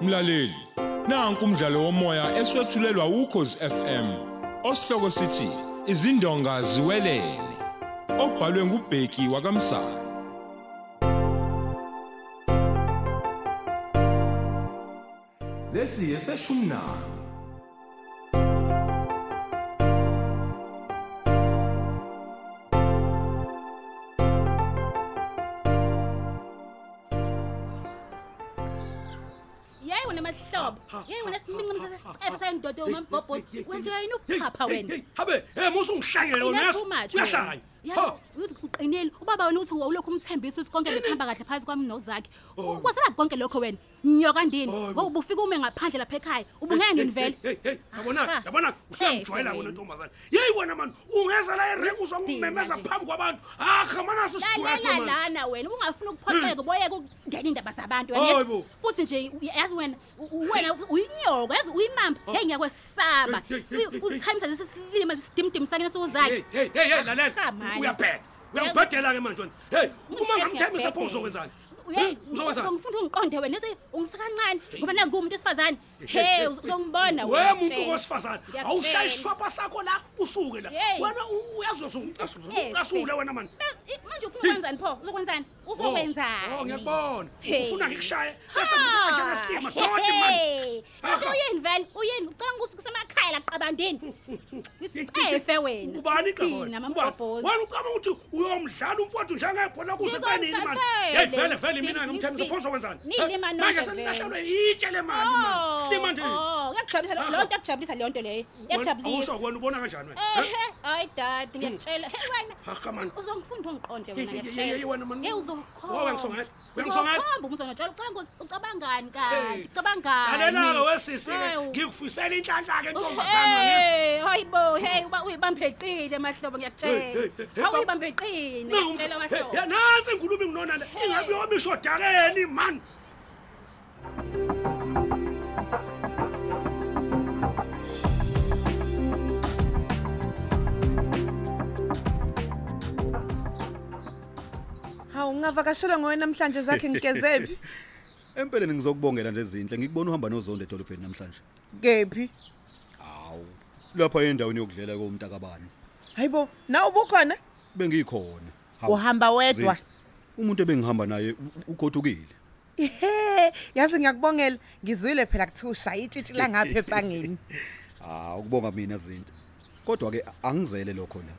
mlaleli nanku umdlalo womoya eswetshulelwa ukhozi FM osihloko sithi izindonga ziwelele obhalwe ngubheki wakamsana lesi eseshumi nami yayi wena mahlobo yayi wena siminqinisa sesicebe sendoda ongambhobhozi wenziwa yini ukuphapha wena habe hey musu ungihlangele wena Ina uyazi? too much uyahlanya wena. Ha, Yazi, uthi uqinile ubaba wena uthi wawulokhu umthembisa ukuthi konke bekuhamba kahle phakathi kwami nozakhe Oh. ukwasela konke lokho wena nyoka ndini Hayi bo. wawubufika ume ngaphandle lapha ekhaya ubungeke Oh. hey, ngini vele hey, hey, hey, yabona Ah, yabona usuyangijwayela sicebe wena wena. ntombazane yeyi wena mani ungeza la irengu uzongimemeza nje. phambi kwabantu akha mana lalela sisiqwaqe lana wena ungafuni ukuphoxeka uboyeke ukungena iindaba zabantu wena, Hmm. Hayi yazi. bo. futhi nje u- yazi wena u- u- wena uyinyoka yazi uyimamba ngeke ngiyakwesaba Hey, hey, hey, hey, hey. uthamisa lesi silima sisidimdim sakini sokuzakhe hey hey hey lalela Cha, mani. uyabheka uyangibhedela ke manje wena hey uma ngamthembisa pho uzokwenzani uyayi Hmm? uzokwenzani ngifunda ungiqonde wena ese ungisakancane ngoba nangumuntu esifazane he uzongibona we wena, muntu tshela. wesifazane Ngiyakutshela. awushaye ishwapha sakho la usuke la Hey. wena u- uyazi uzosucasule wena mani Ma- i- manje ufuna ukwenzani pho uzokwenzani ufuna Oh, ukwenzani oh, ngiyakubona. Hey. Ufuna ngikushaye? Ha! Bese ngikubanjwe ngesilima, dodge man. Ah, Hey. Aha. Kanti uyini vele uyini ucanga ukuthi kusemakhaya la qabandeni isicefe wena ubani Sidina, qabona mamabhobhozi. wena ucaba ukuthi uyomdlala umfowethu njengebhola kuze kube nini mani Ngizomsafela. hey vele vele mina ngimthembise Ngisi- pho uzokwenzani Nilima nonke manje vele. senilahlelwe yitshe le mali Oh, mani silima nje oh, kuyakujabulisa lo- Aha. leyo nto yakujabulisa leyo nto leyo yakujabulisa awusho wena ubona kanjani wena Eh? ehe hayi dade ngiyakutshela he wena Haka, man. uzongifunda ungiqonde wena Hey, hey, hey, hey, wena, man. Wowe, ngisongela. Uyangisongela? uzokhomba umzonotshela ucabanga ukuthi ucabangani Hey. kanti ucabangani lalela-ke wesisi-ke Hawu. Eh, ngikufisela inhlanhla-ke ntombazana Hey, hayi bo, hey uba uyibambeqile mahlobo ngiyakutshela. Hey, hey, hey, Hawu ba- uyibambeqile ngiyakutshela mahlobo. nansi ingulube nginona le ingabe yomishodakeni mani hawu ngingavakashelwa ngowe namhlanje zakhe ngikezephi Empeleni ngizokubongela nje izinhle ngikubona uhamba nozondo edolobheni namhlanje. kephi Hawu. Lapha endaweni yokudlela komnta kabani. hayibo nawe ubukhona Bengikhona. Hawu. uhamba wedwa Zinhle. Umuntu ebengihamba naye u- ugodukile. ihe yazi ngiyakubongela ngizwile phela kuthiwa ushaya itshitshi langapha ebhangeni Hawu kubonga mina izinhle. Kodwa ke angizele lokho la.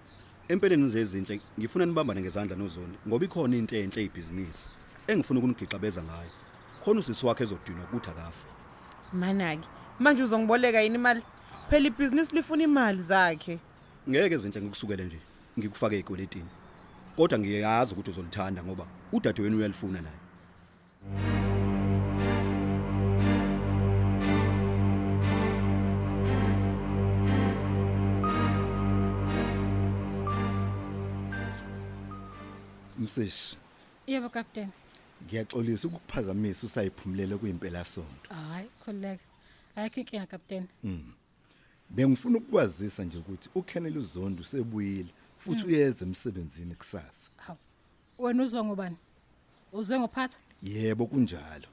Empeleni nje izinhle ngifuna nibambane ngezandla nozondo ngoba ikhona into enhle ebhizinisi engifuna ukunigiqabeza ngayo. Khona usisi wakhe ezodinwa ukuthi akafe. mana-ke manje uzongiboleka yini imali phela ibhizinisi lifuna imali zakhe Ngeke izinhle ngikusukele nje ngikufake ezikweletini. Kodwa ngiyazi ukuthi uzolithanda ngoba udadewenu uyalifuna naye. Msisi, yebo kapteni ngiyaxolisa ukukuphazamisa usayiphumulele kuyimpela sonto. hayi khululeka ayikho inkinga kapteni Bengifuna ukukwazisa nje ukuthi uKenneth Uzondo usebuyile futhi uyeza emsebenzini kusasa. hawu wena uzwa ngobani uzwe ngophatha Yebo kunjalo.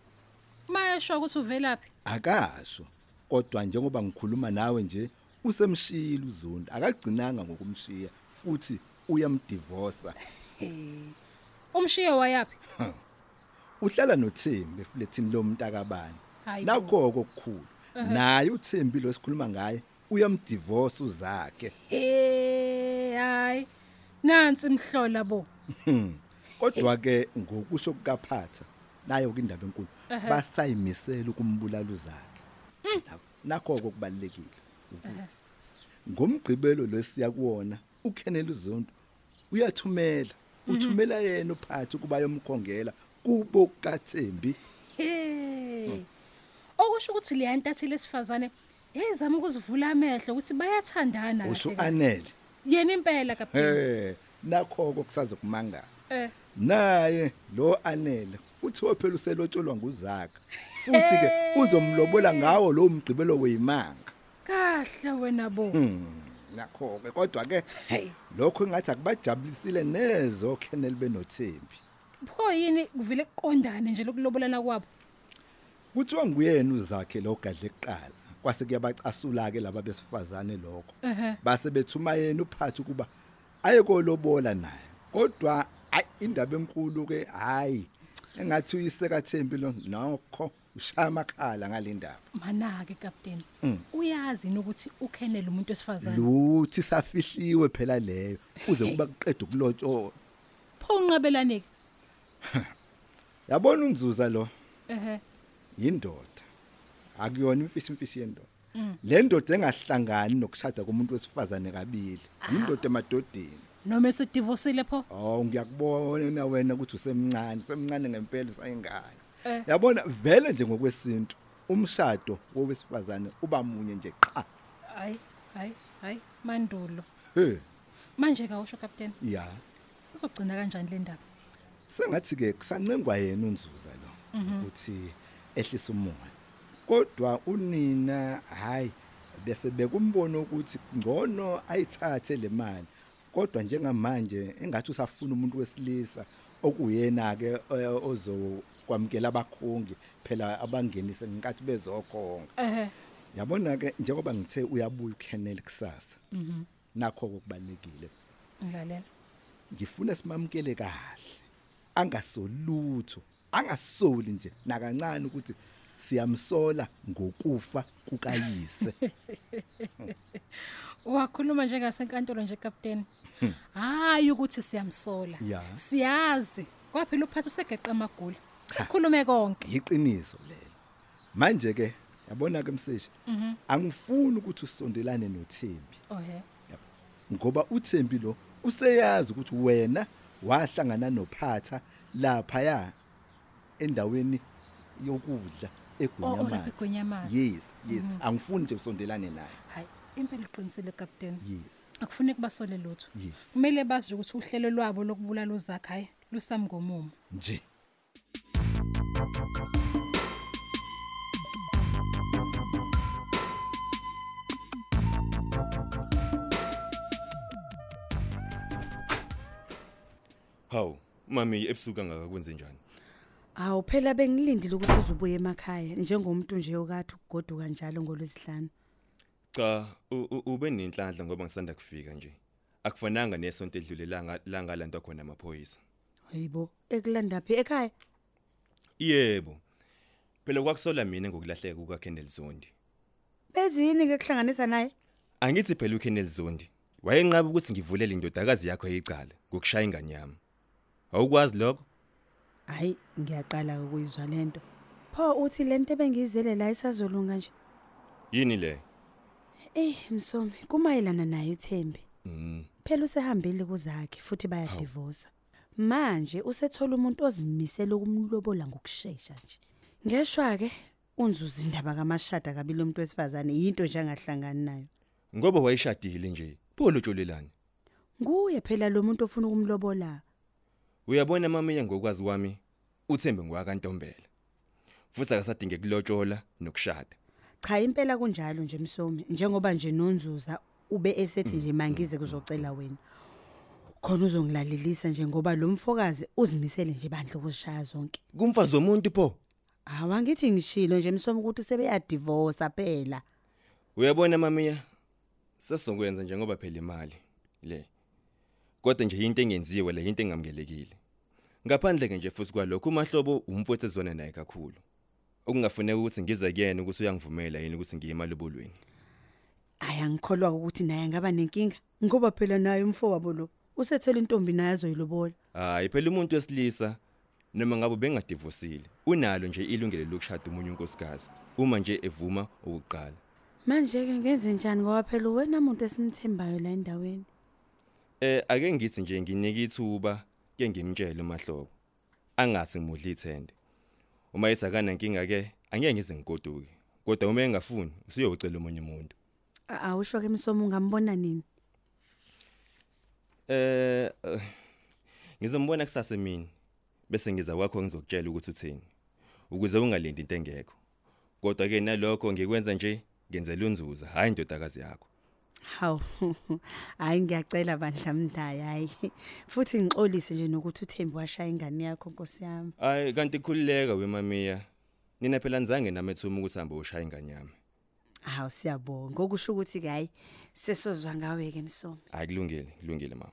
uma esho ukuthi uvelaphi Akasho. Kodwa njengoba ngikhuluma nawe nje usemshila uZondo. Akagcinanga ngokumshiya futhi uyamdivorsa. umshiye wayaphi Uhlala noThembi efletini lomntakabani. Hayi bo. Nakho kokukhulu. Naye uThembi lo sikhuluma ngaye uyamdivorsa uzakhe. Eh, hayi nansi imhlola bo kodwa ke ngokusho kukaphatha nayo indaba enkulu Ehhe. basayimisela ukumbulala uzakhe nakho kokubalekile ukuthi ngomgqibelo lesiya kuona uKenneth Zondo uyathumela uthumela yena uphathi kuba yomkhongela kubo kaThembi Eh. okusho ukuthi leya ntathile esifazane yayizama ukuzivula amehlo ukuthi bayathandana usho kahle kahle. anele yena impela kapteni eh nakho kokusazokumangala Eh. naye lo anele uthiwa phela uselotsholwa nguzakha futhi ke uzomlobola ngawo lo mgqibelo weyimanga kahle wena bo nakho ke kodwa ke Hey. lokho engathi akubajabulisile nezo Kennel benoThembi pho yini kuvele kuqondane nje lokulobolana kwabo kuthiwa nguyena uzakhe lo gadle kuqala kwase kuyabacasula ke laba besifazane lokho base bethuma yena uphathi kuba aye kolobola naye kodwa ayi indaba enkulu ke hayi engathi uyiseka Thembi lo nokho ushaya amakhala ngalendaba mana-ke kapteni Mm. uyazi nokuthi ukhenele umuntu wesifazane luthi safihliwe phela leyo kuze kuba kuqeda ukulotshola pho unqabelaneke yabona unzuza lo ehe yindoda akuyona imfishi imfishi yendoda Mm. le ndoda engahlangani nokushada komuntu wesifazane kabili yindoda emadodeni noma esedivosile pho Oh ngiyakubona wena ukuthi usemncane usemncane ngempela usayingane Eh. yabona vele nje ngokwesintu umshado wowesifazane uba munye nje qha hayi hayi hayi mandulo he manje kawusho kapteni ya uzogcina kanjani le ndaba sengathi ke kusancengwa yena unzuza lo ukuthi ehlisa umoya kodwa unina hayi bese bekumbono ukuthi ngcono ayithathe le mali kodwa njengamanje engathi usafuna umuntu wesilisa okuyena ke ozokwamkela eh, abakhongi phela abangenise ngenkathi bezokhonga ehe yabona ke njengoba ngithe uyabuya ukhenele kusasa nakho kokubalekile ngilalela ngifuna simamkele kahle angasolutho angasoli nje nakancane ukuthi siyamsola ngokufa kukayise wakhuluma njengasenkantolo nje kapteni hayi ukuthi siyamsola Hmm. Ya. siyazi kwaphela uphathi usegeqa amagula sikhulume konke iqiniso lelo manje ke yabona ke mseshi angifuni ukuthi usondelane noThembi ohe yabo ngoba uThembi lo useyazi ukuthi wena wahlangana noPhatha lapha ya endaweni yokudla lapha eGunyamathe. egunyamathe yes yes angifuni nje usondelane naye hayi impela uqinisile kapteni yes akufuneki basole lutho Yes. kumele bazi nje ukuthi uhlelo lwabo lokubulala uzakhe hayi lusamngomumo nje hawu mami ebusuku angakakwenze njani Awu phela bengilindile ukuthi uzubuye emakhaya njengomuntu nje okathi ukugoduka njalo ngolwesihlanu. cha u- u- ube nenhlanhla ngoba ngisanda kufika nje akufananga nesonto edlulelanga langalantwa khona amaphoyisa Hayibo, ekulanda phi ekhaya? yebo phela kwakusola mina ngokulahleka kukaKenneth Zondi Bezini ke kuhlanganisa naye? angithi phela uKenneth Zondi wayenqaba ukuthi ngivulele indodakazi yakho yecala ngokushaya ingane yami awukwazi lokho Hayi, ngiyaqala ukuyizwa lento. Pho uthi lento bengizele la isazolunga nje. yini le Eh, Msomi, kumayelana naye uThembi. mm. Phela usehambile kuzakhe futhi bayadivorce. Manje usethola umuntu ozimisela ukumlobola ngokusheshsha nje. Ngeshwa ke unzuza indaba kamashada kabili umuntu wesifazane into nje angahlangani nayo. ngoba wayeshadile nje pho lotshwelelani Nguye phela lo muntu ofuna ukumlobola. Uyabona mamiya ngokwazi kwami uthembe ngwakantombela. Futhi akasadinge kulotshola nokushada. Cha impela kunjalo nje Msomi njengoba nje nonzuza ube esethi nje mangize kuzocela wena. Khona uzongilalelisa nje ngoba lo mfokazi uzimisele nje bandle ukuzishaya zonke. Kumfazi womuntu pho. Awangithi ngishilo nje Msomi ukuthi sebeya divorce phela. Uyabona mamiya sesizokwenza njengoba phela imali le. Kodwa nje into engenziwe le into engamukelekile. Ngaphandle ke nje futhi kwalokho umahlobo umfowethu ezona naye kakhulu. Okungafuneka ukuthi ngize kuyena ukuthi uyangivumela yini ukuthi ngiye emalobolweni. Aya ngikholwa ukuthi naye angaba nenkinga ngoba phela naye umfo wabo lo usethela intombi naye azoyilobola. Hayi phela umuntu wesilisa noma ngabe bengadivosile unalo nje ilungelo lokushada umunye unkosikazi uma nje evuma ukuqala. Manje ke ngenze njani ngoba phela wena umuntu esimthembayo la endaweni. Eh ake ngithi nje nginike ithuba ke ngimtshele umahlobo. Angathi ngimudla ithende. Uma ethakana inkinga ke angeke ngize ngigoduke. Kodwa uma engafuni usiyocela umunye umuntu. A- Awusho ke Msomi ungambona nini? Eh eh, ngizombona kusasa emini bese ngiza kwakho ngizokutshela ukuthi uthini. Ukuze ungalindi into engekho. Kodwa ke nalokho ngikwenza nje ngenzela unzuza hayi indodakazi yakho. Haw. Hayi ngiyacela bandla mndaya hayi. Futhi ngixolise nje nokuthi uThembi washaya ingane yakho Nkosi yami. Ay kanti khulileka wemamiya. Nina phela nizange namethuma ukuthi hambe ushaya ingane yami. Hawu siyabonga okusho ukuthi ke hayi sesozwa ngawe ke msomo. Hayi kulungile, kulungile mama.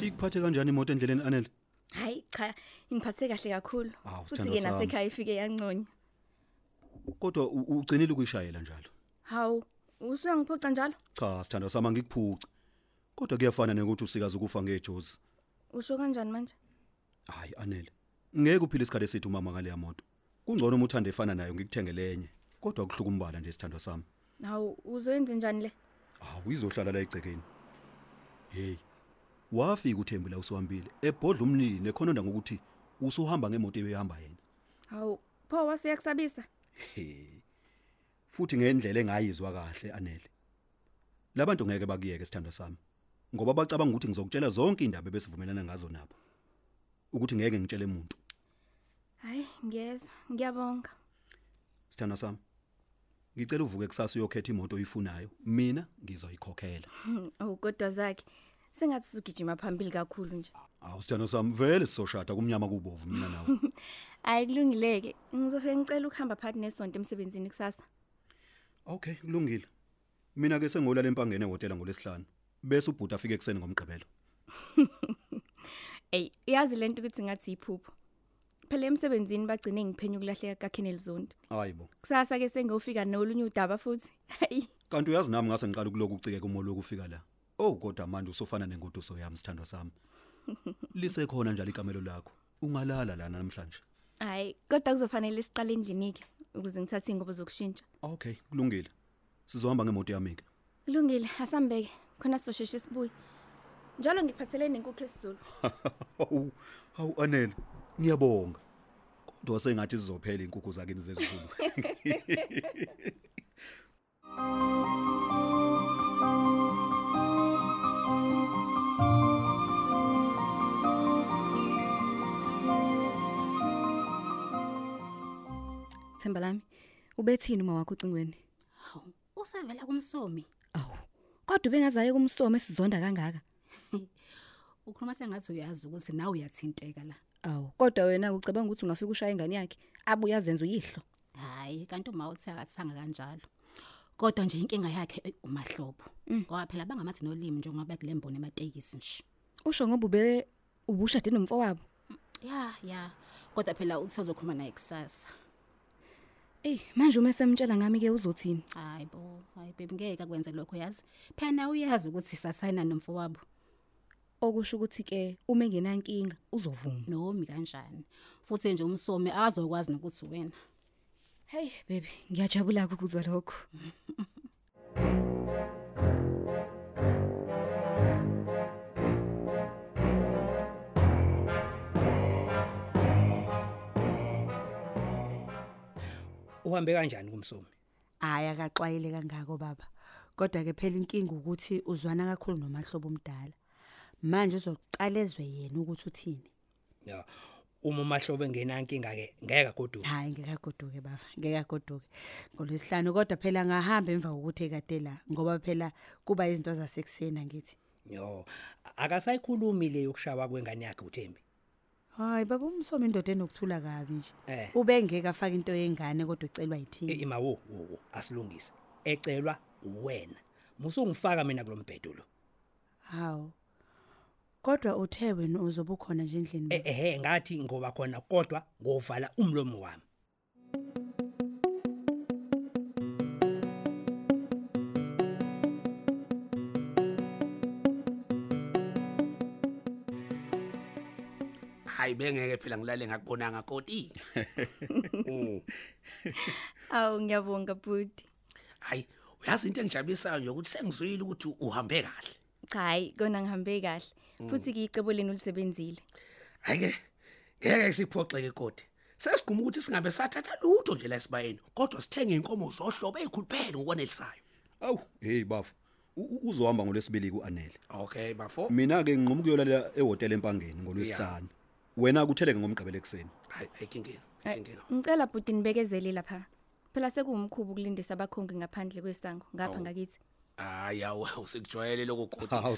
Ikuphathe kanjani imoto endleleni Anele? Hayi cha, ngiphathe kahle kakhulu. Awu, Futhi sithandwa ke sami. nasekhaya ifike yanconya. Kodwa u- ugcinile ukuyishayela njalo. Hawu, usuyangiphoca njalo? Cha, sithandwa sami ngikuphuci. Kodwa kuyafana nekuthi usikazi ukufa ngejozi. Usho kanjani manje? Hayi Anele, ngeke uphile isikhathi esithu mama ngale yamoto. Kungcono uma uthanda efana nayo ngikuthengele enye. Kodwa kuhluka umbala nje sithandwa sami. Hawu, uzoyenza njani le? Hawu, izohlala la egcekeni. Hey. Wafika uThembi la usuhambile. Ebhodla umnini ekhononda ngokuthi usuhamba ngemoto ebehamba yena. Hawu, pho wasiyakusabisa? Hey. Futhi ngendlela engayizwa kahle Anele. Labantu ngeke bakuyeke sithandwa sami. Ngoba bacabanga ukuthi ngizokutshela zonke indaba ebesivumelana ngazo nabo. Ukuthi ngeke ngitshele umuntu. Hayi, ngiyezwa. Ngiyabonga. Sithanda sami. Ngicela uvuke kusasa uyokhetha imoto oyifunayo. Mina ngizoyikhokhela. Oh, kodwa zakhe. Sengathi sugijima phambili kakhulu nje. Awu sithanda sami vele sizoshada kumnyama kubovu mina nawe. Hayi kulungileke. Ngizofike ngicela ukuhamba phakathi nesonto emsebenzini kusasa. Okay, kulungile. Mina ke sengolala empangene ehotela ngolesihlanu. Bese ubhuti afike ekseni ngomgqibelo. Ey, uyazi lento ukuthi ngathi iphupho. Phela emsebenzini bagcine ngiphenya ukulahleka kaKennel Zondo. Hayibo. Kusasa ke sengiyofika nolunye udaba futhi. Hayi. Kanti uyazi nami ngase ngiqala ukuloku ucike kumolo ukufika la. Oh kodwa manje usofana nengoduso yami sithandwa sami. Lisekhona njalo ikamelo lakho. Ungalala lana namhlanje. Hayi, kodwa kuzofanele siqale endlini ke ukuze ngithathe ingobo zokushintsha. Okay, kulungile. Sizohamba ngemoto yami ke. Kulungile, asambeke. Khona sizosheshe sibuye. Njalo ngiphathele nenkukhu esizulu. Hawu, hawu Anele, ngiyabonga. Kodwa sengathi sizophela inkukhu zakini zesizulu. Themba lami. Ubethini uma wakho ucingweni? Hawu, usevela kumsomi. Kodwa ubengazaye kumsomo esizonda kangaka. Ukhuluma sengathi uyazi ukuthi nawe uyathinteka la. Awu, kodwa wena ucabanga ukuthi ungafika ushaya ingane yakhe abuye azenze uyihlo. Hayi, kanti uma uthi akathanga kanjalo. Kodwa nje inkinga yakhe eh, umahlobo. Ngoba phela bangamathi nolimi njengoba kulemboni ematekisi nje. Usho ngoba ube ubushade nomfowabo. Ya, ya. Kodwa phela uthi uzokhuluma naye kusasa. Ey, manje uma semtshela ngami ke uzothini? Hayi bo, hayi baby ngeke akwenze lokho yazi. Phela uyazi ukuthi sasayina nomfowabo. Okusho ukuthi ke uma engenankinga uzovuma. Nomi kanjani. Futhi nje umsomi azokwazi nokuthi wena. Hey baby, ngiyajabula ukuzwa lokho. Uhambe kanjani kumsomi? Hayi akaxwayile kangako baba. Kodwa ke phela inkinga ukuthi uzwana kakhulu nomahlobo omdala. Manje uzoqalezwe yena ukuthi uthini. Ya. Uma umahlobo engenankinga ke ngeke goduka. Hayi ngekagoduke baba, ngekagoduke. Ngolwesihlanu kodwa phela ngahamba emva kokuthi ekade la ngoba phela kuba izinto zasekusena ngithi. Yo. Akasayikhulumi le yokushaywa kwengane yakhe uThembi. Hayi baba umsomi indoda enokuthula kabi nje. Eh. Ube ngeke afake into yengane kodwa ucelwa yithini. Imawo, wo, wo, asilungise. Ecelwa wena. Musungifaka mina kulombhedo lo. Hawu. Kodwa uthe wena uzoba ukhona nje endlini. Eh. baba? Ehhe Eh, ngathi ngoba khona kodwa ngovala umlomo wami. Hayi bengeke phela ngilale ngakubonanga koti. Mm. Awu ngiyabonga budi. Hayi uyazi into engijabulisayo nje ukuthi sengizwile ukuthi uhambe kahle. Cha, hayi kona ngihambe kahle. Futhi ke icebo leni ulisebenzile. Hayi ke ngeke siphoxeke kodi. Sesigquma ukuthi singabe sathatha lutho nje la esibayeni kodwa sithenge inkomo zohlobo ezikhuluphele ngokwanelisayo. Awu, hey bafu. u- u- Uzohamba ngolesibili kuAnele. Okay bafo. Mina ke nginquma ukuyolala ehotela empangeni ngolwesihlanu. Wena ukutheleke ngomgqibelo ekseni. Hayi ayikingeni. Ngicela budi nibekezele lapha. Phela sekuwumkhubu ukulindisa abakhongi ngaphandle kwesango ngapha ngakithi. hayi awu usikujwayele lokho Hawu, godi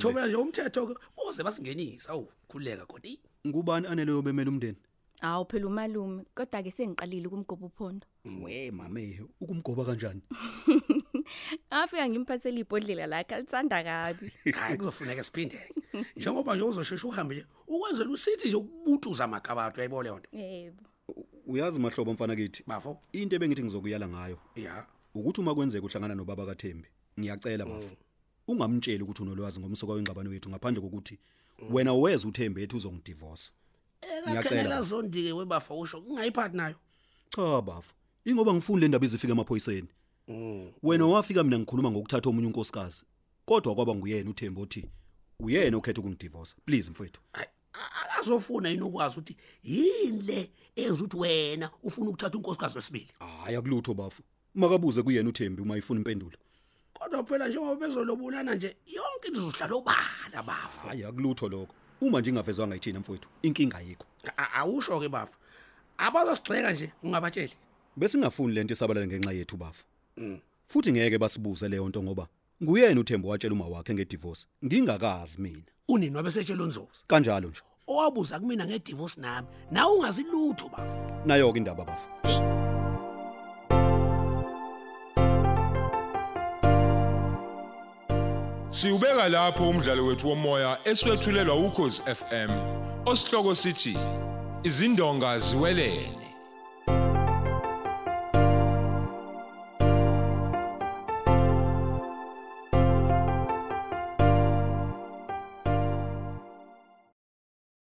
so thobela nje umthetho ke uze basingenise awu khuleka godi Ngubani aneleyo bemela umndeni? Hawu phela umalume, kodwa ke sengiqalile ukumgoba uphondo. We mame, ukumgoba kanjani? Afika ngimphathele ibhodlela lakhe alithanda kabi. hayi kuzofuneka siphinde njengoba nje uzoshesha uhambe nje ukwenzela usithi nje ukubutuza amagabato yayibona leyo nto Yebo. Uyazi mahlobo mfana kithi. Bafo. Into ebengithi ngizokuyala ngayo. Ya. Ukuthi uma kwenzeka uhlangana nobaba kaThembi, ngiyacela bafo. Ungamtsheli ukuthi unolwazi ngomsoka wengxabano yethu ngaphandle kokuthi wena weza uThembi ethi uzongidivorce. ekakhenela zondike webafa usho ungayiphathi nayo Cha bafo, ingoba ngifuni le ndaba izifika emaphoyiseni. Wena wafika mina ngikhuluma ngokuthatha omunye unkosikazi. Kodwa kwaba nguyena uThembi othi uyena okhetha ukungidivorce. Please mfethu. azofuna yini ukwazi ukuthi yini le enza ukuthi wena ufuna ukuthatha unkosikazi wesibili Hayi akulutho bafo. Makabuze kuyena uThembi uma ifuna impendulo. kodwa phela njengoba bezolobulana nje yonke into izohlala obala bafa Hayi akulutho lokho. Uma nje ingavezwanga yithina mfowethu, inkinga ayikho. awusho ke bafa abazosigxeka nje ungabatsheli Besingafuni lento isabalale ngenxa yethu bafa. Futhi ngeke basibuze leyo nto ngoba nguyena uThembo watshela uma wakhe ngedivorce. Ngingakazi mina. unini wabesetshela unzozi Kanjalo nje. owabuza kumina ngedivorce nami nawe ungazi lutho bafa Nayo ke indaba bafa. Siubeka lapho umdlalo wethu womoya eswetshulelwa ukhozi FM. Osihloko sithi izindonga ziwelele.